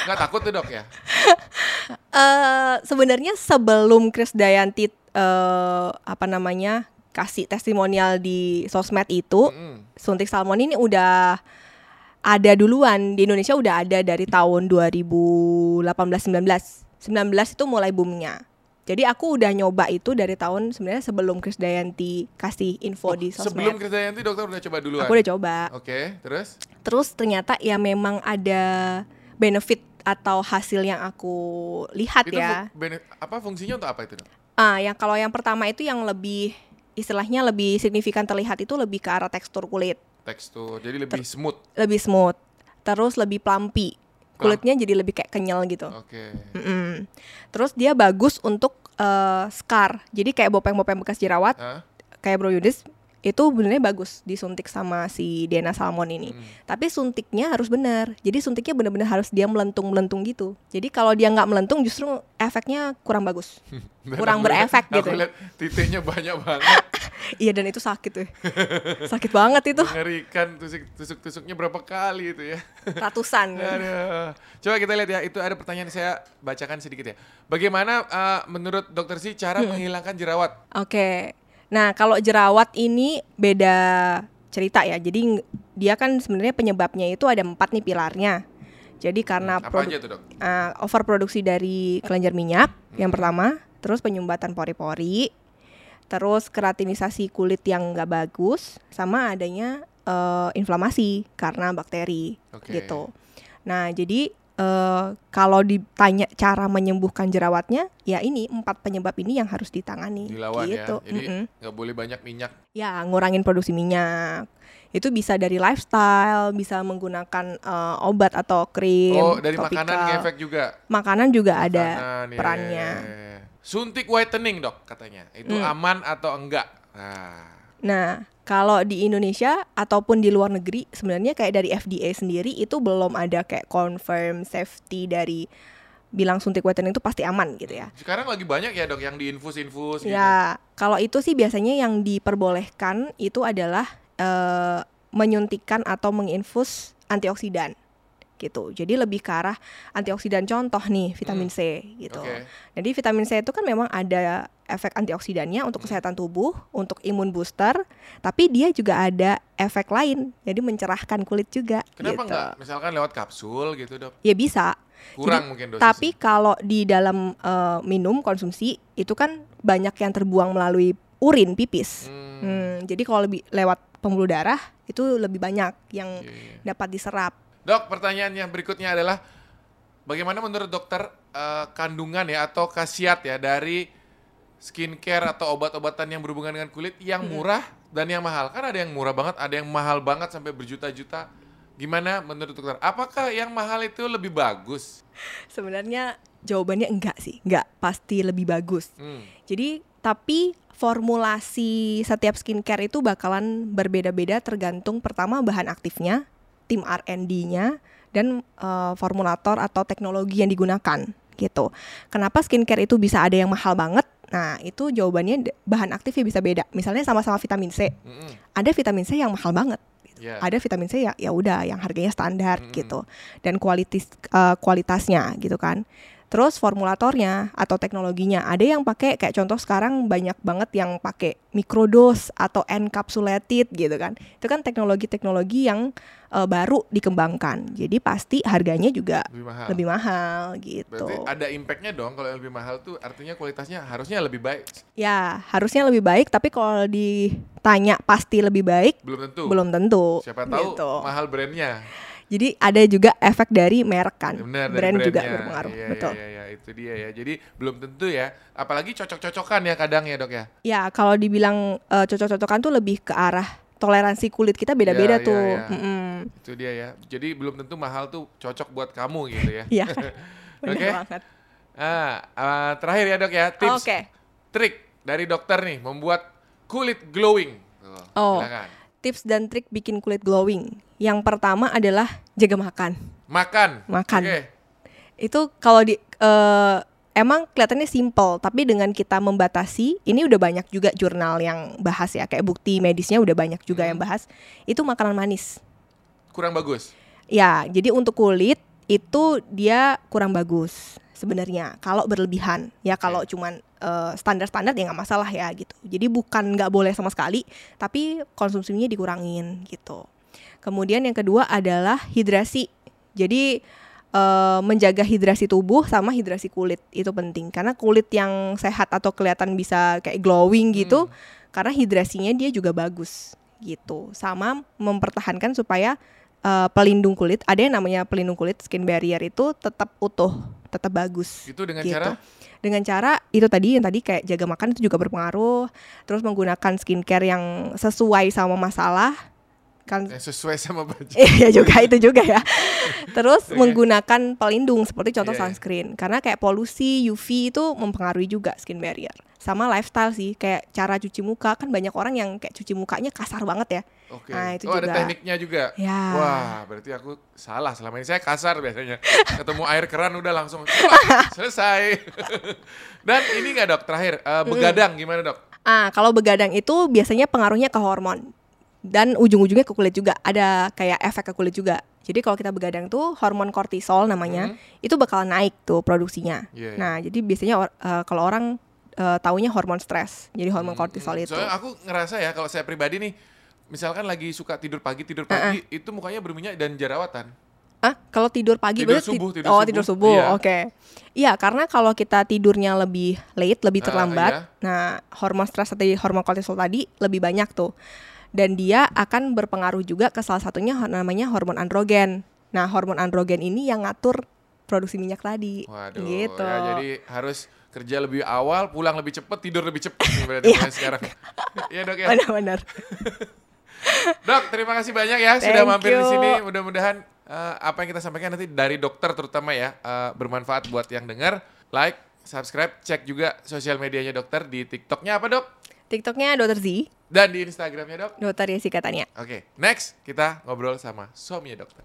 S1: Nggak takut tuh dok ya?
S2: eh sebenarnya sebelum Chris Dayanti eh apa namanya kasih testimonial di sosmed itu
S1: Mm.
S2: suntik salmon ini udah ada duluan di Indonesia udah ada dari tahun 2018 19 19 itu mulai boomnya jadi aku udah nyoba itu dari tahun sebenarnya sebelum Chris Dayanti kasih info Oh, di sosmed
S1: Oh, Sebelum Krisdayanti dokter udah coba duluan.
S2: aku udah coba
S1: Oke, terus?
S2: terus ternyata ya memang ada benefit atau hasil yang aku lihat
S1: Itu
S2: ya
S1: fu- bene- apa fungsinya untuk apa itu? Dok?
S2: Ah, yang kalau yang pertama itu yang lebih istilahnya lebih signifikan terlihat itu lebih ke arah tekstur kulit,
S1: Tekstur, jadi lebih smooth.
S2: lebih smooth, terus lebih plumpy. Kulitnya jadi lebih kayak kenyal gitu.
S1: Oke.
S2: Mm-mm. Terus dia bagus untuk eh, scar. Jadi kayak bopeng-bopeng bekas jerawat
S1: Hah?
S2: kayak Bro Yudis itu benernya bagus disuntik sama si Diana Salmon ini.
S1: Hmm.
S2: Tapi suntiknya harus benar. Jadi suntiknya benar-benar harus dia melentung-melentung gitu. Jadi kalau dia nggak melentung justru efeknya kurang bagus.
S1: Dan
S2: Kurang
S1: aku lihat-
S2: berefek gitu.
S1: Aku lihat titiknya banyak banget,
S2: Iya dan itu sakit tuh. Sakit banget itu.
S1: mengerikan tusuk- tusuk-tusuknya berapa kali itu ya.
S2: Ratusan.
S1: Aduh. Coba kita lihat ya, itu ada pertanyaan saya bacakan sedikit ya. Bagaimana eh, menurut dokter sih cara menghilangkan jerawat?
S2: Oke. Nah, kalau jerawat ini beda cerita ya. Jadi ng- dia kan sebenarnya penyebabnya itu ada empat nih pilarnya. Jadi karena
S1: Apa
S2: produ-
S1: aja tuh dok?
S2: eh, overproduksi dari kelenjar minyak yang
S1: Hmm.
S2: pertama, terus penyumbatan pori-pori, terus keratinisasi kulit yang nggak bagus, sama adanya eh, inflamasi karena bakteri
S1: Oke.
S2: gitu. Nah jadi eh, kalau ditanya cara menyembuhkan jerawatnya, ya ini empat penyebab ini yang harus ditangani.
S1: Dilawan
S2: gitu.
S1: ya, jadi
S2: Mm-mm.
S1: nggak boleh banyak minyak.
S2: Ya, ngurangin produksi minyak. Itu bisa dari lifestyle, bisa menggunakan eh, obat atau krim.
S1: Oh, dari
S2: topikal.
S1: makanan ngefek juga.
S2: Makanan juga Iya, ada
S1: Makanan, iya,
S2: perannya.
S1: iya, iya. Suntik whitening dok katanya, itu
S2: Hmm.
S1: aman atau enggak? Nah,
S2: Nah, Kalau di Indonesia ataupun di luar negeri sebenarnya kayak dari FDA sendiri itu belum ada kayak confirm safety dari bilang suntik whitening itu pasti aman gitu ya.
S1: Sekarang lagi banyak ya dok yang diinfus-infus gitu.
S2: Ya, kalau itu sih biasanya yang diperbolehkan itu adalah eh, menyuntikkan atau menginfus antioksidan gitu. Jadi lebih ke arah antioksidan contoh nih vitamin C gitu.
S1: Hmm. Oke.
S2: Jadi vitamin C itu kan memang ada efek antioksidannya
S1: Hmm.
S2: untuk kesehatan tubuh, untuk imun booster, tapi dia juga ada efek lain. Jadi mencerahkan kulit juga
S1: Kenapa
S2: gitu.
S1: nggak misalkan lewat kapsul gitu dok?
S2: Ya bisa.
S1: Kurang
S2: Jadi,
S1: mungkin dosisnya.
S2: Tapi kalau di dalam eh, minum konsumsi itu kan banyak yang terbuang melalui urin pipis.
S1: Hmm,
S2: Hmm, jadi kalau lebih lewat pembuluh darah itu lebih banyak yang
S1: iya, iya.
S2: dapat diserap.
S1: Dok, pertanyaan yang berikutnya adalah bagaimana menurut dokter eh, kandungan ya atau khasiat ya dari skincare atau obat-obatan yang berhubungan dengan kulit yang
S2: Hmm.
S1: murah dan yang mahal? Kan ada yang murah banget, ada yang mahal banget sampai berjuta-juta. Gimana menurut dokter? Apakah yang mahal itu lebih bagus?
S2: Sebenarnya jawabannya enggak sih, enggak pasti lebih bagus.
S1: Hmm.
S2: Jadi tapi formulasi setiap skincare itu bakalan berbeda-beda tergantung pertama bahan aktifnya, tim R&D-nya dan eh, formulator atau teknologi yang digunakan gitu. Kenapa skincare itu bisa ada yang mahal banget? Nah, itu jawabannya d- bahan aktifnya bisa beda. Misalnya sama-sama vitamin C,
S1: Mm-mm.
S2: ada vitamin C yang mahal banget
S1: hmm, Ya.
S2: ada vitamin C ya ya udah yang harganya standar
S1: Mm-mm.
S2: gitu dan kualitas eh, kualitasnya gitu kan terus formulatornya atau teknologinya ada yang pakai kayak contoh sekarang banyak banget yang pakai microdose atau encapsulated gitu kan itu kan teknologi-teknologi yang eh, baru dikembangkan jadi pasti harganya juga
S1: Lebih mahal.
S2: lebih mahal gitu
S1: Ah. Berarti ada impactnya dong kalau yang lebih mahal tuh artinya kualitasnya harusnya lebih baik.
S2: ya harusnya lebih baik tapi kalau ditanya pasti lebih baik
S1: Belum tentu.
S2: belum tentu
S1: Siapa tahu
S2: gitu.
S1: mahal brandnya.
S2: Jadi ada juga efek dari merek kan.
S1: Ya Benar, dari
S2: brand juga
S1: brandnya.
S2: berpengaruh.
S1: Iya,
S2: Betul.
S1: Iya, iya, itu dia ya. Jadi belum tentu ya. Apalagi cocok-cocokan ya kadang ya dok ya.
S2: Ya, kalau dibilang eh, cocok-cocokan tuh lebih ke arah toleransi kulit kita
S1: Iya,
S2: beda-beda
S1: iya,
S2: tuh.
S1: iya.
S2: Mm-mm.
S1: Itu dia ya. Jadi belum tentu mahal tuh cocok buat kamu gitu ya.
S2: Iya.
S1: Oke.
S2: Bener banget.
S1: Ah, ah, terakhir ya dok ya tips,
S2: Oke.
S1: trik dari dokter nih membuat kulit glowing. Tuh,
S2: Oh.
S1: Silakan.
S2: Tips dan trik bikin kulit glowing. Yang pertama adalah jaga makan.
S1: Makan.
S2: Makan.
S1: Oke.
S2: Itu kalau di eh, emang kelihatannya simple, tapi dengan kita membatasi, ini udah banyak juga jurnal yang bahas ya, kayak bukti medisnya udah banyak juga
S1: Hmm.
S2: yang bahas. Itu makanan manis.
S1: Kurang bagus.
S2: Ya, jadi untuk kulit itu dia kurang bagus sebenarnya kalau berlebihan. Ya kalau cuman eh, standar-standar ya nggak masalah ya gitu. Jadi bukan nggak boleh sama sekali, tapi konsumsinya dikurangin gitu. Kemudian yang kedua adalah hidrasi. Jadi eh, menjaga hidrasi tubuh sama hidrasi kulit itu penting karena kulit yang sehat atau kelihatan bisa kayak glowing gitu karena hidrasinya dia juga bagus gitu. Sama mempertahankan supaya eh, pelindung kulit, ada yang namanya pelindung kulit skin barrier itu tetap utuh, tetap bagus.
S1: Itu dengan
S2: gitu.
S1: cara
S2: Dengan cara itu tadi yang tadi kayak jaga makan itu juga berpengaruh, terus menggunakan skincare yang sesuai sama masalah kan
S1: yang eh, sesuai sama budget.
S2: Iya juga itu juga ya.
S1: Oke.
S2: Terus menggunakan pelindung seperti
S1: Iya,
S2: contoh
S1: iya.
S2: sunscreen karena kayak polusi UV itu mempengaruhi juga skin barrier. Sama lifestyle sih kayak cara cuci muka kan banyak orang yang kayak cuci mukanya kasar banget ya.
S1: Oke.
S2: Nah, itu
S1: oh, ada
S2: juga.
S1: tekniknya juga.
S2: Ya.
S1: Wah, berarti aku salah selama ini. Saya kasar biasanya. Ketemu air keran udah langsung selesai. Dan ini nggak dok, terakhir eh, begadang gimana dok?
S2: Ah, kalau begadang itu biasanya pengaruhnya ke hormon dan ujung-ujungnya ke kulit juga. Ada kayak efek ke kulit juga. Jadi kalau kita begadang tuh hormon kortisol namanya itu bakal naik tuh produksinya.
S1: Hmm. Iya, iya.
S2: Nah, jadi biasanya or- eh, kalau orang eh, taunya hormon stres. Jadi hormon kortisol itu.
S1: Hmm, iya. Soalnya aku ngerasa ya kalau saya pribadi nih, misalkan lagi suka tidur pagi tidur pagi itu mukanya berminyak dan jerawatan.
S2: Ah, kalau tidur pagi
S1: Tidur
S2: berarti-
S1: subuh, tidur
S2: Oh,
S1: subuh.
S2: tidur subuh.
S1: Iya.
S2: Oke. Iya, karena kalau kita tidurnya lebih late, lebih
S1: Ah,
S2: terlambat,
S1: iya.
S2: nah hormon stres atau hormon kortisol tadi lebih banyak tuh. Dan dia akan berpengaruh juga ke salah satunya hor- namanya hormon androgen. Nah, hormon androgen ini yang ngatur produksi minyak tadi.
S1: Waduh.
S2: gitu.
S1: Ya, jadi harus kerja lebih awal, pulang lebih cepat, tidur lebih cepat nih berarti
S2: Iya.
S1: mulai sekarang. Iya dok ya.
S2: Benar-benar.
S1: Dok, terima kasih banyak ya sudah
S2: Thank
S1: mampir di
S2: you.
S1: sini. Mudah-mudahan eh, apa yang kita sampaikan nanti dari dokter terutama ya eh, bermanfaat buat yang dengar. Like, subscribe, cek juga sosial medianya dokter di TikToknya apa dok?
S2: TikToknya Dr. Z.
S1: dan di Instagramnya dok.
S2: Dokter Yesi katanya.
S1: Oke, next kita ngobrol sama suaminya dokter.